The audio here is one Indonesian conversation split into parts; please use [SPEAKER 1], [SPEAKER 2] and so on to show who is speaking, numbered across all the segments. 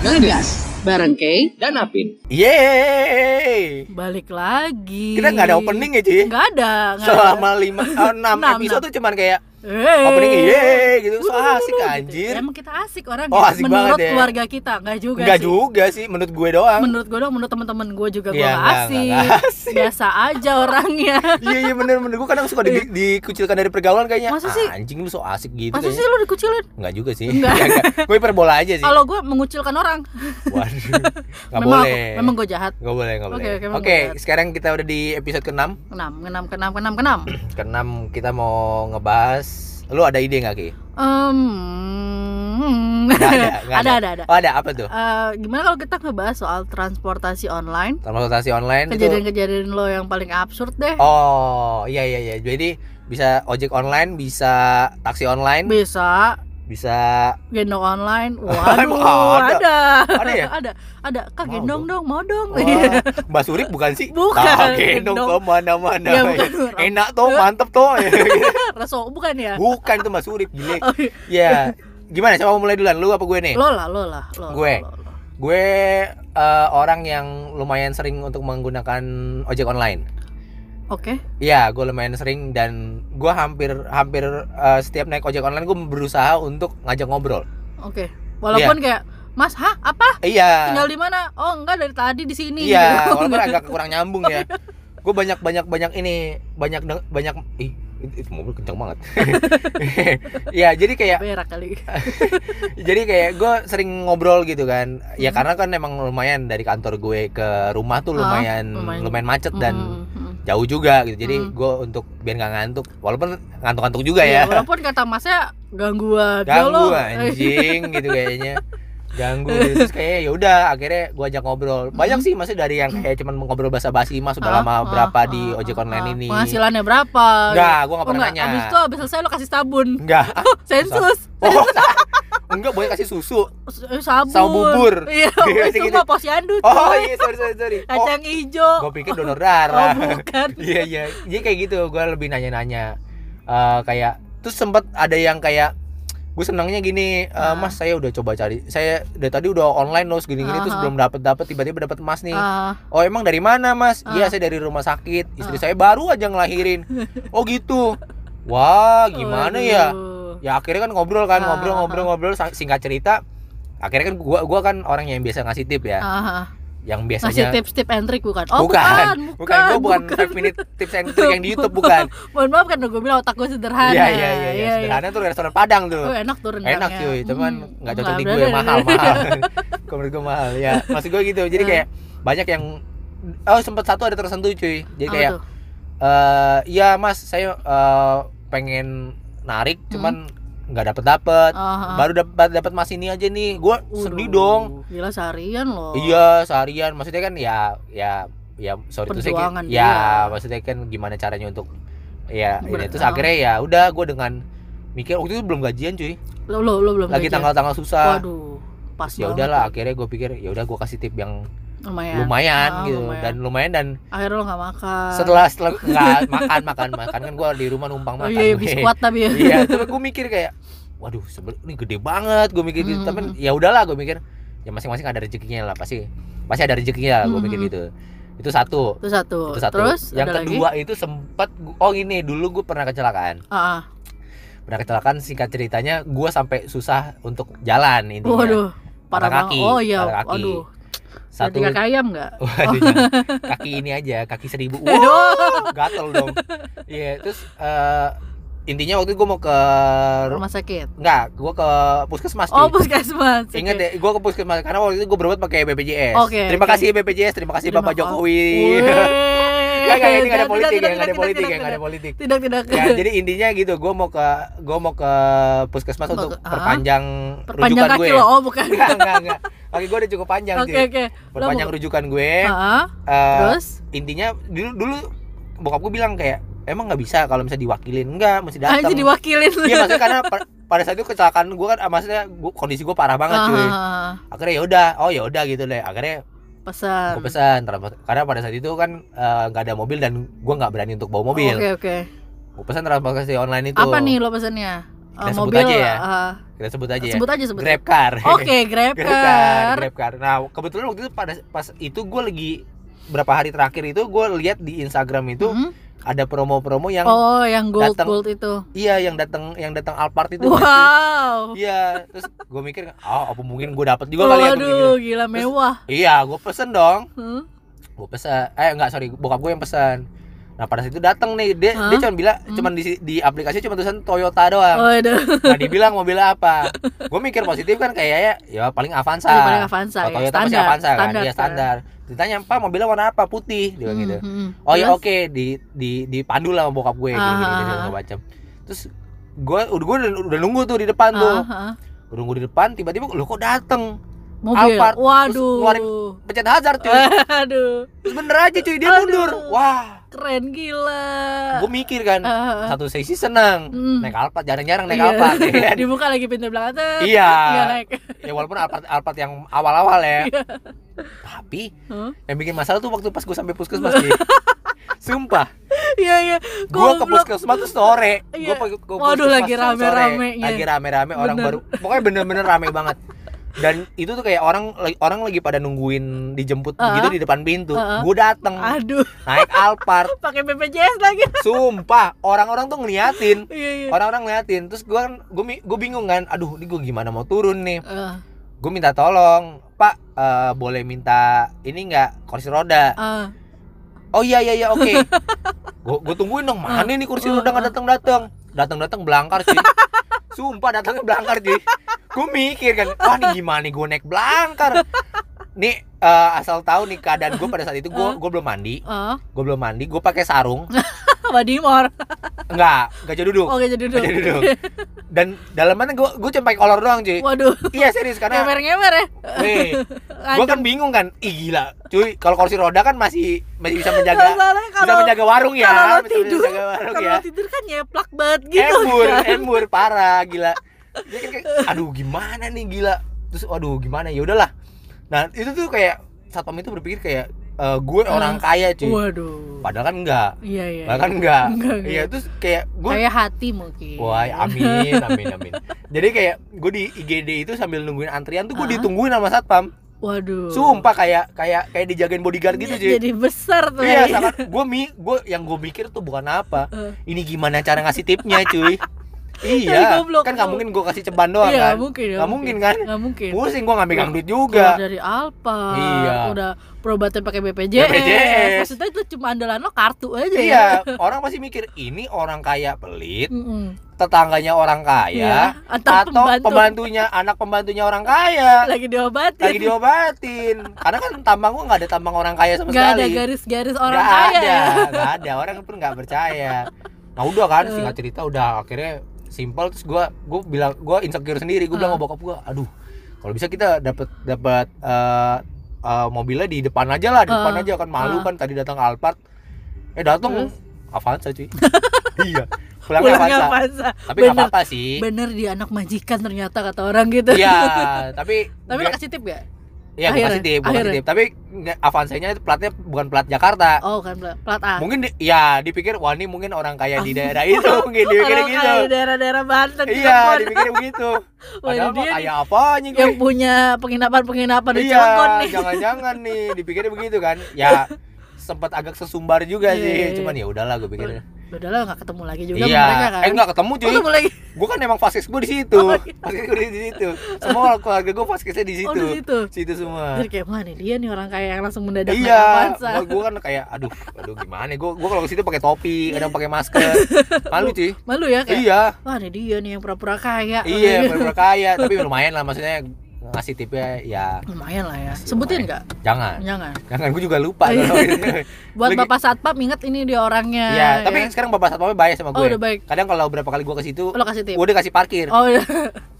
[SPEAKER 1] Ngegas bareng Kay dan Apin.
[SPEAKER 2] Yeay.
[SPEAKER 3] Balik lagi.
[SPEAKER 2] Kita nggak ada opening ya, Ci?
[SPEAKER 3] Nggak ada. nggak
[SPEAKER 2] Selama lima, eh, enam
[SPEAKER 3] Enam,
[SPEAKER 2] episode
[SPEAKER 3] enam.
[SPEAKER 2] tuh cuman kayak
[SPEAKER 3] ada. Hey.
[SPEAKER 2] opening yeay gitu. So
[SPEAKER 3] Wududududu,
[SPEAKER 2] asik
[SPEAKER 3] gitu.
[SPEAKER 2] anjir.
[SPEAKER 3] Emang kita asik orang.
[SPEAKER 2] Oh, asik
[SPEAKER 3] menurut
[SPEAKER 2] banget ya.
[SPEAKER 3] keluarga kita nggak juga.
[SPEAKER 2] Enggak
[SPEAKER 3] sih.
[SPEAKER 2] juga sih menurut gue doang.
[SPEAKER 3] Menurut gue dong, menurut teman-teman gue juga gue
[SPEAKER 2] Iya,
[SPEAKER 3] nggak
[SPEAKER 2] nggak,
[SPEAKER 3] asik.
[SPEAKER 2] nggak, nggak asik.
[SPEAKER 3] Biasa aja orangnya.
[SPEAKER 2] Iya iya bener bener gue kadang suka di, dikucilkan dari pergaulan kayaknya.
[SPEAKER 3] Iya.
[SPEAKER 2] "Ah,
[SPEAKER 3] Masa sih?
[SPEAKER 2] Anjing lu so asik gitu
[SPEAKER 3] Masa sih
[SPEAKER 2] kayaknya.
[SPEAKER 3] lu dikucilin?
[SPEAKER 2] Enggak juga sih.
[SPEAKER 3] Nggak.
[SPEAKER 2] Gue hiperbola aja sih.
[SPEAKER 3] Kalau gue mengucilkan orang.
[SPEAKER 2] Waduh. Enggak
[SPEAKER 3] memang
[SPEAKER 2] boleh.
[SPEAKER 3] aku- memang gue jahat.
[SPEAKER 2] Gak boleh, gak
[SPEAKER 3] Oke,
[SPEAKER 2] boleh.
[SPEAKER 3] oke,
[SPEAKER 2] Oke,
[SPEAKER 3] memang gua jahat.
[SPEAKER 2] sekarang kita udah di episode ke-6.
[SPEAKER 3] Kenam, kenam, kenam, kenam, kenam.
[SPEAKER 2] Ke-6 kita mau ngebahas Lu ada ide gak, Ki?
[SPEAKER 3] Um,
[SPEAKER 2] Nggak ada, nggak
[SPEAKER 3] ada, ada, ada.
[SPEAKER 2] Oh, ada apa tuh?
[SPEAKER 3] Eh, gimana kalau kita ngebahas soal transportasi online?
[SPEAKER 2] Transportasi online itu
[SPEAKER 3] kejadian-kejadian lo yang paling absurd deh
[SPEAKER 2] Oh, iya iya iya. Jadi bisa ojek online, bisa taksi online,
[SPEAKER 3] bisa
[SPEAKER 2] bisa
[SPEAKER 3] gendong online waduh
[SPEAKER 2] Emang
[SPEAKER 3] ada
[SPEAKER 2] ada? Ada ya?
[SPEAKER 3] ada ada kak
[SPEAKER 2] Mau Oh,
[SPEAKER 3] gendong dong mau dong Iya.
[SPEAKER 2] Wah, Mbak Surip bukan sih?
[SPEAKER 3] Bukan,
[SPEAKER 2] Ah, gendong
[SPEAKER 3] gendong.
[SPEAKER 2] ke mana-mana.
[SPEAKER 3] ya bukan
[SPEAKER 2] Enak tuh, mantep tuh. Eh.
[SPEAKER 3] reso bukan ya
[SPEAKER 2] bukan itu Mbak Surip, gile.
[SPEAKER 3] Oh, iya.
[SPEAKER 2] Ya. Gimana? Coba mulai duluan. Lu apa gue nih?
[SPEAKER 3] lo lah lo lah lo
[SPEAKER 2] Gue.
[SPEAKER 3] lo, lo, lo.
[SPEAKER 2] Gue eh, orang yang lumayan sering untuk menggunakan ojek online.
[SPEAKER 3] oke
[SPEAKER 2] Iya, gue lumayan sering dan gue hampir hampir eh, setiap naik ojek online gue berusaha untuk ngajak ngobrol.
[SPEAKER 3] oke walaupun kayak mas hah apa
[SPEAKER 2] Iya.
[SPEAKER 3] tinggal di mana oh enggak dari tadi di sini
[SPEAKER 2] Iya,
[SPEAKER 3] Gitu.
[SPEAKER 2] walaupun agak kurang nyambung ya. Gue banyak banyak banyak ini banyak deng- banyak ih itu, itu mobil kencang banget. Iya, jadi kayak
[SPEAKER 3] berak kali
[SPEAKER 2] jadi kayak gue sering ngobrol gitu kan. Ya
[SPEAKER 3] Mhm.
[SPEAKER 2] karena kan emang lumayan dari kantor gue ke rumah tuh
[SPEAKER 3] Ah,
[SPEAKER 2] lumayan
[SPEAKER 3] lumayan.
[SPEAKER 2] lumayan, macet dan
[SPEAKER 3] Mm, mm, mm.
[SPEAKER 2] jauh juga gitu. Jadi
[SPEAKER 3] Mhm.
[SPEAKER 2] gue untuk biar nggak ngantuk, walaupun ngantuk-ngantuk juga
[SPEAKER 3] Iya,
[SPEAKER 2] ya.
[SPEAKER 3] walaupun kata masnya gangguan Ya
[SPEAKER 2] Ganggu
[SPEAKER 3] lo-
[SPEAKER 2] anjing gitu kayaknya. Ganggu gitu. terus kayak ya udah akhirnya gue ajak ngobrol. Banyak sih masih dari yang kayak cuman ngobrol basa-basi mas
[SPEAKER 3] Hmm. Ah,
[SPEAKER 2] udah lama
[SPEAKER 3] ah,
[SPEAKER 2] berapa di
[SPEAKER 3] ah, ah,
[SPEAKER 2] ojek online
[SPEAKER 3] ah.
[SPEAKER 2] ini.
[SPEAKER 3] penghasilannya berapa
[SPEAKER 2] Enggak, gue
[SPEAKER 3] Oh
[SPEAKER 2] gak pernah
[SPEAKER 3] enggak,
[SPEAKER 2] nanya.
[SPEAKER 3] abis itu abis selesai lo kasih sabun
[SPEAKER 2] Enggak. ah,
[SPEAKER 3] Sensus
[SPEAKER 2] Oh, enggak boleh kasih susu.
[SPEAKER 3] S- eh, Sabun
[SPEAKER 2] Sama bubur.
[SPEAKER 3] Iya,
[SPEAKER 2] Iya,
[SPEAKER 3] wes,
[SPEAKER 2] kayak
[SPEAKER 3] sumpah posyandu
[SPEAKER 2] Oh
[SPEAKER 3] cuy.
[SPEAKER 2] iya, sorry sorry sorry. Oh,
[SPEAKER 3] Kacang hijau
[SPEAKER 2] gue pikir donor
[SPEAKER 3] Oh
[SPEAKER 2] darah.
[SPEAKER 3] bukan
[SPEAKER 2] Iya iya. Jadi kayak gitu, gue lebih nanya-nanya. Eh, kayak terus sempet ada yang kayak gue senangnya gini, eh,
[SPEAKER 3] Ah.
[SPEAKER 2] Mas saya udah coba cari, saya dari tadi udah online loh segini-gini terus
[SPEAKER 3] Aha.
[SPEAKER 2] belum dapet dapet tiba-tiba dapet Mas nih.
[SPEAKER 3] Ah,
[SPEAKER 2] Oh emang dari mana mas?
[SPEAKER 3] Ah.
[SPEAKER 2] Iya saya dari rumah sakit. Istri
[SPEAKER 3] Ah.
[SPEAKER 2] saya baru aja ngelahirin. Oh gitu. Wah gimana ya?
[SPEAKER 3] waduh.
[SPEAKER 2] Ya akhirnya kan ngobrol kan
[SPEAKER 3] Ah.
[SPEAKER 2] ngobrol-ngobrol-ngobrol. Singkat cerita, akhirnya kan gua gua kan orang yang biasa ngasih tip ya.
[SPEAKER 3] Ah,
[SPEAKER 2] Yang
[SPEAKER 3] Masih
[SPEAKER 2] biasanya
[SPEAKER 3] tips-tips and trick bukan? Oh
[SPEAKER 2] bukan,
[SPEAKER 3] bukan,
[SPEAKER 2] bukan, gua bukan,
[SPEAKER 3] bukan.
[SPEAKER 2] 5 minute tips and trick yang di YouTube bukan.
[SPEAKER 3] Mohon maaf kan gue bilang otak gue sederhana
[SPEAKER 2] Iya iya iya. iya. Sederhana tuh restoran Padang tuh.
[SPEAKER 3] Oh, enak tuh rendangnya
[SPEAKER 2] enak cuy cuman
[SPEAKER 3] Hmm,
[SPEAKER 2] nggak cocok di gue
[SPEAKER 3] berani.
[SPEAKER 2] mahal mahal Kalau menurut gue mahal ya maksud gue gitu jadi
[SPEAKER 3] Hmm.
[SPEAKER 2] kayak banyak yang oh sempet satu ada tersentuh cuy jadi
[SPEAKER 3] Apa
[SPEAKER 2] kayak
[SPEAKER 3] tuh?
[SPEAKER 2] eh iya mas saya eh, pengen narik cuman nggak dapet dapet
[SPEAKER 3] Hmm. Ah, ah.
[SPEAKER 2] baru dapat dapat mas ini aja nih gue sedih
[SPEAKER 3] Waduh,
[SPEAKER 2] dong
[SPEAKER 3] Gila seharian loh
[SPEAKER 2] iya seharian maksudnya kan ya ya ya sorry tuh saya
[SPEAKER 3] Perjuangan
[SPEAKER 2] kayak-
[SPEAKER 3] dia.
[SPEAKER 2] ya maksudnya kan gimana caranya untuk ya ini
[SPEAKER 3] Ber-
[SPEAKER 2] terus
[SPEAKER 3] ah.
[SPEAKER 2] akhirnya ya udah gue dengan mikir waktu itu belum gajian cuy
[SPEAKER 3] Lo, lo, lo belum
[SPEAKER 2] lagi
[SPEAKER 3] gajian.
[SPEAKER 2] tanggal-tanggal susah
[SPEAKER 3] Waduh Pas
[SPEAKER 2] ya
[SPEAKER 3] banget
[SPEAKER 2] udahlah
[SPEAKER 3] tuh.
[SPEAKER 2] akhirnya gue pikir ya udah gue kasih tip yang
[SPEAKER 3] Lumayan
[SPEAKER 2] lumayan
[SPEAKER 3] Ah,
[SPEAKER 2] gitu
[SPEAKER 3] lumayan. Ah.
[SPEAKER 2] dan lumayan dan
[SPEAKER 3] Akhirnya lo gak makan
[SPEAKER 2] setelah setelah nggak makan makan makan kan gue di rumah numpang
[SPEAKER 3] Oh
[SPEAKER 2] makan
[SPEAKER 3] iya,
[SPEAKER 2] gue.
[SPEAKER 3] biskuat tapi ya.
[SPEAKER 2] iya terus gue mikir kayak waduh sebel ini gede banget gue mikir gitu
[SPEAKER 3] Hmm.
[SPEAKER 2] tapi ya udahlah gue mikir ya masing-masing ada rezekinya lah pasti pasti ada rezekinya gue mikir
[SPEAKER 3] Mhm.
[SPEAKER 2] gitu itu satu
[SPEAKER 3] Itu satu.
[SPEAKER 2] itu satu
[SPEAKER 3] Terus
[SPEAKER 2] yang
[SPEAKER 3] ada
[SPEAKER 2] kedua itu sempat oh ini dulu gue pernah
[SPEAKER 3] lagi?
[SPEAKER 2] kecelakaan
[SPEAKER 3] Ah, ah.
[SPEAKER 2] pernah kecelakaan singkat ceritanya gue sampai susah untuk jalan intinya
[SPEAKER 3] Waduh. Parah
[SPEAKER 2] Patah
[SPEAKER 3] banget.
[SPEAKER 2] kaki,
[SPEAKER 3] Oh iya,
[SPEAKER 2] patah kaki.
[SPEAKER 3] aduh. Satu
[SPEAKER 2] satu
[SPEAKER 3] ayam enggak?
[SPEAKER 2] Waduh, jangan. kaki ini aja, kaki seribu. Wow, gatel dong. Iya, terus eh, intinya waktu gue mau ke
[SPEAKER 3] Rumah sakit.
[SPEAKER 2] enggak, gue ke puskesmas
[SPEAKER 3] Oh,
[SPEAKER 2] cuy.
[SPEAKER 3] puskesmas. Oke.
[SPEAKER 2] Ingat ya? deh, gue ke puskesmas karena waktu itu gue berobat pakai BPJS.
[SPEAKER 3] Oke, oke.
[SPEAKER 2] terima kasih BPJS, terima kasih
[SPEAKER 3] Terima
[SPEAKER 2] Bapak
[SPEAKER 3] kasih.
[SPEAKER 2] Jokowi.
[SPEAKER 3] Wih.
[SPEAKER 2] Enggak, enggak, ini enggak ada
[SPEAKER 3] Tidak,
[SPEAKER 2] politik,
[SPEAKER 3] tidak,
[SPEAKER 2] ya, enggak ada
[SPEAKER 3] tidak,
[SPEAKER 2] politik, ya,
[SPEAKER 3] tidak,
[SPEAKER 2] enggak ada
[SPEAKER 3] tidak.
[SPEAKER 2] politik.
[SPEAKER 3] Tidak, tidak.
[SPEAKER 2] Ya, jadi intinya gitu, gue mau ke gue mau ke puskesmas
[SPEAKER 3] Mau
[SPEAKER 2] untuk
[SPEAKER 3] ke- ah?
[SPEAKER 2] perpanjang
[SPEAKER 3] Perpanjang
[SPEAKER 2] rujukan
[SPEAKER 3] kaki
[SPEAKER 2] gue.
[SPEAKER 3] lo, oh bukan.
[SPEAKER 2] Enggak, enggak, enggak. Kaki gue udah cukup panjang
[SPEAKER 3] Oke,
[SPEAKER 2] cuy.
[SPEAKER 3] oke. Lo
[SPEAKER 2] Perpanjang
[SPEAKER 3] mau-
[SPEAKER 2] rujukan gue.
[SPEAKER 3] Heeh.
[SPEAKER 2] eh,
[SPEAKER 3] Terus?
[SPEAKER 2] intinya dulu dulu bokap gue bilang kayak emang nggak bisa kalau misalnya diwakilin enggak mesti
[SPEAKER 3] Ah,
[SPEAKER 2] datang
[SPEAKER 3] jadi wakilin lu.
[SPEAKER 2] iya maksudnya karena pa- pada saat itu kecelakaan gue kan ah, maksudnya gua- kondisi gue parah banget cuy
[SPEAKER 3] Ah,
[SPEAKER 2] akhirnya ya udah oh ya udah gitu deh akhirnya
[SPEAKER 3] Pesan.
[SPEAKER 2] gue pesan transport- karena pada saat itu kan eh, nggak ada mobil dan gue nggak berani untuk bawa mobil
[SPEAKER 3] Oke, oke.
[SPEAKER 2] gue pesan transportasi online itu
[SPEAKER 3] Apa nih lo pesannya?
[SPEAKER 2] Kita
[SPEAKER 3] eh,
[SPEAKER 2] sebut
[SPEAKER 3] mobil
[SPEAKER 2] aja ya.
[SPEAKER 3] eh,
[SPEAKER 2] kita sebut aja ya
[SPEAKER 3] sebut aja sebut.
[SPEAKER 2] grab car
[SPEAKER 3] Oke, grab
[SPEAKER 2] grab car
[SPEAKER 3] car.
[SPEAKER 2] grab car nah kebetulan waktu itu pada pas itu gue lagi berapa hari terakhir itu gue lihat di Instagram itu
[SPEAKER 3] Mm.
[SPEAKER 2] ada promo-promo yang
[SPEAKER 3] Oh, yang gold
[SPEAKER 2] datang.
[SPEAKER 3] gold itu.
[SPEAKER 2] iya yang datang yang datang Alphard itu
[SPEAKER 3] Wow.
[SPEAKER 2] iya terus gue mikir oh apa mungkin gue dapat juga kali ya gua mikir.
[SPEAKER 3] Waduh, gila mewah.
[SPEAKER 2] iya gue pesen dong
[SPEAKER 3] Hmm?
[SPEAKER 2] gue pesen eh enggak sorry bokap gue yang pesen nah pada saat itu datang nih dia dia
[SPEAKER 3] Hah?
[SPEAKER 2] cuma bilang
[SPEAKER 3] Hmm. Oh.
[SPEAKER 2] cuman di di aplikasi cuma tulisan Toyota doang
[SPEAKER 3] Waduh,
[SPEAKER 2] nah dibilang mobilnya apa gue mikir positif kan kayaknya ya paling Avanza
[SPEAKER 3] Ini paling Avanza
[SPEAKER 2] Kalau
[SPEAKER 3] ya.
[SPEAKER 2] Toyota masih Avanza kan ya standar ditanya pak mobilnya warna apa putih dia bilang gitu
[SPEAKER 3] Hmm, hmm.
[SPEAKER 2] oh ya
[SPEAKER 3] Terus?
[SPEAKER 2] oke di di dipandu lah sama bokap gue gitu, gitu, gitu,
[SPEAKER 3] Ah.
[SPEAKER 2] segala macam terus gue udah gue udah, udah nunggu tuh di depan tuh
[SPEAKER 3] Ah, ah.
[SPEAKER 2] udah nunggu di depan tiba-tiba lo kok dateng
[SPEAKER 3] Mobil.
[SPEAKER 2] Alphard. Terus
[SPEAKER 3] Waduh.
[SPEAKER 2] pencet hazard cuy
[SPEAKER 3] Waduh.
[SPEAKER 2] terus bener aja cuy dia
[SPEAKER 3] Aduh.
[SPEAKER 2] mundur wah
[SPEAKER 3] Keren gila.
[SPEAKER 2] gue mikir kan
[SPEAKER 3] Ah, ah.
[SPEAKER 2] satu sesi seneng
[SPEAKER 3] Hmm.
[SPEAKER 2] naik Alphard jarang-jarang naik
[SPEAKER 3] Iya.
[SPEAKER 2] Alphard ya kan?
[SPEAKER 3] Dibuka lagi pintu belakang tuh.
[SPEAKER 2] iya
[SPEAKER 3] naik.
[SPEAKER 2] ya walaupun Alphard Alphard yang awal-awal ya
[SPEAKER 3] Iya.
[SPEAKER 2] tapi
[SPEAKER 3] Huh?
[SPEAKER 2] yang bikin masalah tuh waktu pas gue sampai puskesmas Ki. sumpah
[SPEAKER 3] Iya iya.
[SPEAKER 2] gue ke
[SPEAKER 3] Goblok.
[SPEAKER 2] puskesmas tuh sore
[SPEAKER 3] Iya.
[SPEAKER 2] gue pergi ke
[SPEAKER 3] Waduh,
[SPEAKER 2] puskesmas
[SPEAKER 3] lagi
[SPEAKER 2] tuh sore.
[SPEAKER 3] rame-ramenya.
[SPEAKER 2] lagi rame-rame orang
[SPEAKER 3] Bener.
[SPEAKER 2] baru pokoknya bener-bener rame banget dan itu tuh kayak orang orang lagi pada nungguin dijemput
[SPEAKER 3] Uh-uh.
[SPEAKER 2] gitu di depan pintu
[SPEAKER 3] Uh-uh.
[SPEAKER 2] gue dateng
[SPEAKER 3] Aduh,
[SPEAKER 2] naik Alphard
[SPEAKER 3] pakai BPJS lagi.
[SPEAKER 2] sumpah orang-orang tuh ngeliatin
[SPEAKER 3] Iya iya.
[SPEAKER 2] orang-orang ngeliatin terus gue kan gue bingung kan aduh ini gue gimana mau turun nih
[SPEAKER 3] Ah,
[SPEAKER 2] gue minta tolong pak eh, boleh minta ini nggak kursi roda
[SPEAKER 3] ah.
[SPEAKER 2] oh iya iya iya oke gue gue tungguin dong mana nih kursi roda nggak datang datang datang datang belangkar sih sumpah datangnya belangkar sih gue mikir kan wah nih gimana nih gue naik belangkar nih eh, asal tahu nih keadaan gue pada saat itu gue gue belum mandi
[SPEAKER 3] Ah,
[SPEAKER 2] gue belum mandi gue pakai sarung
[SPEAKER 3] apa Dimor?
[SPEAKER 2] enggak gajah duduk
[SPEAKER 3] Oh, Oke jadi duduk.
[SPEAKER 2] gajah duduk dan dalamannya gue gue cuma pakai kolor doang cuy
[SPEAKER 3] Waduh,
[SPEAKER 2] iya serius karena
[SPEAKER 3] ngemer-ngemer ya.
[SPEAKER 2] weh, gue kan bingung kan ih gila cuy kalau kursi roda kan masih masih bisa menjaga
[SPEAKER 3] Masalahnya
[SPEAKER 2] bisa
[SPEAKER 3] kalau
[SPEAKER 2] menjaga warung ya
[SPEAKER 3] kalau lo
[SPEAKER 2] bisa
[SPEAKER 3] tidur,
[SPEAKER 2] menjaga warung
[SPEAKER 3] kalau
[SPEAKER 2] ya Eh,
[SPEAKER 3] tidur kan nyeplak banget gitu.
[SPEAKER 2] embur
[SPEAKER 3] kan.
[SPEAKER 2] embur parah gila Dia kan kayak, aduh gimana nih gila terus aduh gimana ya udahlah nah itu tuh kayak satpam itu berpikir kayak eh, gue
[SPEAKER 3] Ah,
[SPEAKER 2] orang kaya cuy
[SPEAKER 3] Waduh.
[SPEAKER 2] padahal kan enggak
[SPEAKER 3] Iya iya.
[SPEAKER 2] padahal kan enggak
[SPEAKER 3] Enggak, enggak.
[SPEAKER 2] iya terus kayak gue
[SPEAKER 3] Kayak hati mungkin.
[SPEAKER 2] Wah, ya. amin, amin, amin. Jadi kayak gue di IGD itu sambil nungguin antrian tuh gue
[SPEAKER 3] Ah.
[SPEAKER 2] ditungguin sama satpam.
[SPEAKER 3] Waduh. Iya,
[SPEAKER 2] Sumpah kayak kayak kayak dijagain bodyguard gitu cuy.
[SPEAKER 3] Jadi besar tuh. ya.
[SPEAKER 2] Iya, sangat. Gue mi, gue yang gue mikir tuh bukan apa.
[SPEAKER 3] Eh.
[SPEAKER 2] Ini gimana cara ngasih tipnya, cuy?
[SPEAKER 3] Tapi
[SPEAKER 2] iya,
[SPEAKER 3] goblok
[SPEAKER 2] kan nggak
[SPEAKER 3] lu.
[SPEAKER 2] mungkin gue kasih ceban doang
[SPEAKER 3] Iya,
[SPEAKER 2] kan?
[SPEAKER 3] mungkin ya.
[SPEAKER 2] Nggak mungkin kan?
[SPEAKER 3] Nggak mungkin. Iya.
[SPEAKER 2] Pusing gue nggak megang duit
[SPEAKER 3] Keluar
[SPEAKER 2] juga.
[SPEAKER 3] dari Alfa.
[SPEAKER 2] Iya.
[SPEAKER 3] Udah perobatnya pakai BPJS.
[SPEAKER 2] BPJS.
[SPEAKER 3] Maksudnya itu cuma andalan lo kartu aja ya.
[SPEAKER 2] Iya, orang pasti mikir ini orang kaya pelit,
[SPEAKER 3] Mm-mm.
[SPEAKER 2] tetangganya orang
[SPEAKER 3] Iya.
[SPEAKER 2] kaya,
[SPEAKER 3] Atau,
[SPEAKER 2] atau
[SPEAKER 3] pembantu
[SPEAKER 2] pembantunya anak pembantunya orang kaya
[SPEAKER 3] lagi diobatin.
[SPEAKER 2] lagi diobatin. Karena kan tambang gue nggak ada tambang orang kaya sama
[SPEAKER 3] Nggak ada
[SPEAKER 2] sekali.
[SPEAKER 3] garis-garis orang
[SPEAKER 2] Nggak
[SPEAKER 3] kaya
[SPEAKER 2] ada,
[SPEAKER 3] ya.
[SPEAKER 2] nggak ada orang pun nggak percaya nah udah kan
[SPEAKER 3] Eh.
[SPEAKER 2] singkat cerita udah akhirnya simpel terus gua gua bilang gua insecure sendiri gua
[SPEAKER 3] Eh.
[SPEAKER 2] bilang sama bokap gua aduh kalau bisa kita dapat dapat eh, eh, mobilnya di depan aja lah di depan
[SPEAKER 3] Eh,
[SPEAKER 2] aja kan malu
[SPEAKER 3] eh.
[SPEAKER 2] kan tadi datang Alphard eh datang
[SPEAKER 3] Terus?
[SPEAKER 2] Avanza cuy iya pulangnya
[SPEAKER 3] Pulang
[SPEAKER 2] Avanza
[SPEAKER 3] Avanza.
[SPEAKER 2] tapi nggak
[SPEAKER 3] Bener.
[SPEAKER 2] apa-apa sih
[SPEAKER 3] Bener dia anak majikan ternyata kata orang gitu.
[SPEAKER 2] iya tapi
[SPEAKER 3] Tapi lo
[SPEAKER 2] dia-
[SPEAKER 3] kasih tip gak?
[SPEAKER 2] iya gua kasih
[SPEAKER 3] akhirnya-
[SPEAKER 2] tip gua kasih
[SPEAKER 3] akhirnya.
[SPEAKER 2] tip. tapi nggak- Avanzanya itu platnya bukan plat Jakarta
[SPEAKER 3] Oh kan plat plat A.
[SPEAKER 2] mungkin di- ya dipikir wah ini mungkin orang kaya di daerah itu mungkin dipikir
[SPEAKER 3] Orang
[SPEAKER 2] gitu
[SPEAKER 3] kaya daerah-daerah Banten
[SPEAKER 2] iya
[SPEAKER 3] Cilegon.
[SPEAKER 2] dipikir begitu
[SPEAKER 3] Wah, ini
[SPEAKER 2] padahal mah
[SPEAKER 3] dia nih
[SPEAKER 2] kaya apa anjing gue
[SPEAKER 3] yang punya penginapan-penginapan di
[SPEAKER 2] iya
[SPEAKER 3] Cilegon nih.
[SPEAKER 2] jangan-jangan nih dipikir begitu kan ya sempat agak sesumbar juga
[SPEAKER 3] Iya, iya.
[SPEAKER 2] sih cuman ya udahlah gue pikir
[SPEAKER 3] Udah lah nggak ketemu lagi juga sama mereka
[SPEAKER 2] iya
[SPEAKER 3] kan.
[SPEAKER 2] eh nggak ketemu
[SPEAKER 3] Oh,
[SPEAKER 2] cuy
[SPEAKER 3] ketemu lagi.
[SPEAKER 2] gue kan emang fasis gue di situ
[SPEAKER 3] Oh, iya.
[SPEAKER 2] fasis gue di situ semua keluarga gue faskesnya di
[SPEAKER 3] Oh
[SPEAKER 2] situ
[SPEAKER 3] di situ.
[SPEAKER 2] situ semua
[SPEAKER 3] Jadi kayak wah nih dia nih orang kaya yang langsung mendadak naik
[SPEAKER 2] Nah. Iya,
[SPEAKER 3] Avanza.
[SPEAKER 2] gue kan kayak aduh, aduh gimana? Gue gue kalau ke situ pakai topi, kadang pakai masker, malu cuy.
[SPEAKER 3] Malu ya kayak
[SPEAKER 2] Iya,
[SPEAKER 3] wah nih dia nih yang pura-pura kaya.
[SPEAKER 2] Iya,
[SPEAKER 3] Kayak gitu.
[SPEAKER 2] bener-bener kaya, tapi lumayan lah maksudnya ngasih tipnya ya
[SPEAKER 3] Lumayan lah ya.
[SPEAKER 2] Masih
[SPEAKER 3] Sebutin
[SPEAKER 2] lumayan.
[SPEAKER 3] nggak?
[SPEAKER 2] jangan.
[SPEAKER 3] Jangan.
[SPEAKER 2] Jangan gue juga lupa
[SPEAKER 3] Iya.
[SPEAKER 2] kalau gitu.
[SPEAKER 3] Buat
[SPEAKER 2] Lagi-
[SPEAKER 3] Bapak Satpam ingat ini dia orangnya. Ya kan?
[SPEAKER 2] Iya, tapi sekarang bapak satpamnya bahaya sama
[SPEAKER 3] Oh udah
[SPEAKER 2] gue.
[SPEAKER 3] baik.
[SPEAKER 2] Kadang kalau berapa kali gue ke situ,
[SPEAKER 3] Lo kasih tip.
[SPEAKER 2] gue dikasih parkir.
[SPEAKER 3] Oh udah.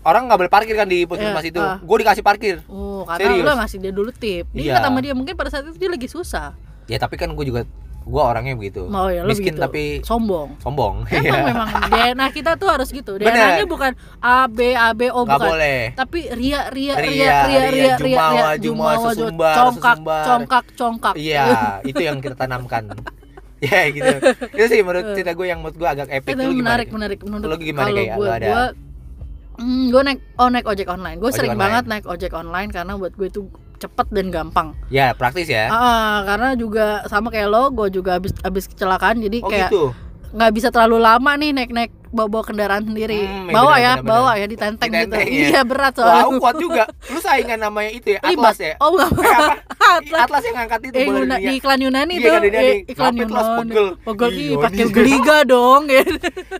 [SPEAKER 2] Orang nggak boleh parkir kan di puskesmas
[SPEAKER 3] Iya,
[SPEAKER 2] itu.
[SPEAKER 3] ah.
[SPEAKER 2] Gue dikasih parkir.
[SPEAKER 3] Oh, karena
[SPEAKER 2] Serius?
[SPEAKER 3] lo ngasih dia dulu tip. Dia
[SPEAKER 2] Iya.
[SPEAKER 3] ingat sama dia mungkin pada saat itu dia lagi susah.
[SPEAKER 2] Ya tapi kan gue juga gue orangnya begitu.
[SPEAKER 3] Mau ya lo
[SPEAKER 2] Miskin
[SPEAKER 3] begitu.
[SPEAKER 2] tapi
[SPEAKER 3] sombong.
[SPEAKER 2] sombong.
[SPEAKER 3] Emang
[SPEAKER 2] Iya.
[SPEAKER 3] memang DNA kita tuh harus gitu.
[SPEAKER 2] Bener.
[SPEAKER 3] DNA-nya bukan A B A B O
[SPEAKER 2] Nggak
[SPEAKER 3] Oh, bukan.
[SPEAKER 2] boleh.
[SPEAKER 3] Tapi ria ria
[SPEAKER 2] Ria,
[SPEAKER 3] ria ria ria
[SPEAKER 2] ria,
[SPEAKER 3] ria
[SPEAKER 2] jumawa,
[SPEAKER 3] ria
[SPEAKER 2] jumawa,
[SPEAKER 3] jumawa,
[SPEAKER 2] sesumbar,
[SPEAKER 3] congkak
[SPEAKER 2] sesumbar.
[SPEAKER 3] congkak congkak.
[SPEAKER 2] Iya, itu yang kita tanamkan. Ya gitu. Itu sih menurut cerita gue yang menurut gue agak epic.
[SPEAKER 3] Tapi Ah.
[SPEAKER 2] Lu gimana?
[SPEAKER 3] menarik menarik menurut
[SPEAKER 2] Lu gimana,
[SPEAKER 3] kalau
[SPEAKER 2] Kay? Lu
[SPEAKER 3] gue
[SPEAKER 2] ada-
[SPEAKER 3] gue Hmm, gue naik oh naik ojek online. Gue
[SPEAKER 2] Ojek
[SPEAKER 3] sering
[SPEAKER 2] online.
[SPEAKER 3] banget naik ojek online karena buat gue itu cepet dan gampang.
[SPEAKER 2] Ya praktis ya.
[SPEAKER 3] Ah, karena juga sama kayak lo, gue juga habis habis kecelakaan jadi
[SPEAKER 2] Oh
[SPEAKER 3] iya, kayak
[SPEAKER 2] gitu.
[SPEAKER 3] nggak bisa terlalu lama nih naik-naik bawa-bawa kendaraan sendiri.
[SPEAKER 2] Hmm, iya
[SPEAKER 3] bawa
[SPEAKER 2] benar,
[SPEAKER 3] ya,
[SPEAKER 2] benar,
[SPEAKER 3] bawa ya ditenteng,
[SPEAKER 2] Ditenteng,
[SPEAKER 3] gitu.
[SPEAKER 2] ya.
[SPEAKER 3] Iya, berat soalnya.
[SPEAKER 2] Wow kuat juga. Lu saingan namanya itu ya
[SPEAKER 3] Ribet.
[SPEAKER 2] Atlas ya.
[SPEAKER 3] Oh, enggak
[SPEAKER 2] Eh, apa? I-
[SPEAKER 3] Atlas.
[SPEAKER 2] Atlas yang ngangkat itu
[SPEAKER 3] Eh,
[SPEAKER 2] bola
[SPEAKER 3] Yuna-
[SPEAKER 2] dunia.
[SPEAKER 3] di iklan Yunani
[SPEAKER 2] Iya,
[SPEAKER 3] itu,
[SPEAKER 2] iklan Yunani.
[SPEAKER 3] eh, iklan
[SPEAKER 2] Ngapain Atlas
[SPEAKER 3] Yunani.
[SPEAKER 2] pegel?
[SPEAKER 3] Pegel
[SPEAKER 2] Iya,
[SPEAKER 3] ih, pakai
[SPEAKER 2] ini.
[SPEAKER 3] geliga dong. ya.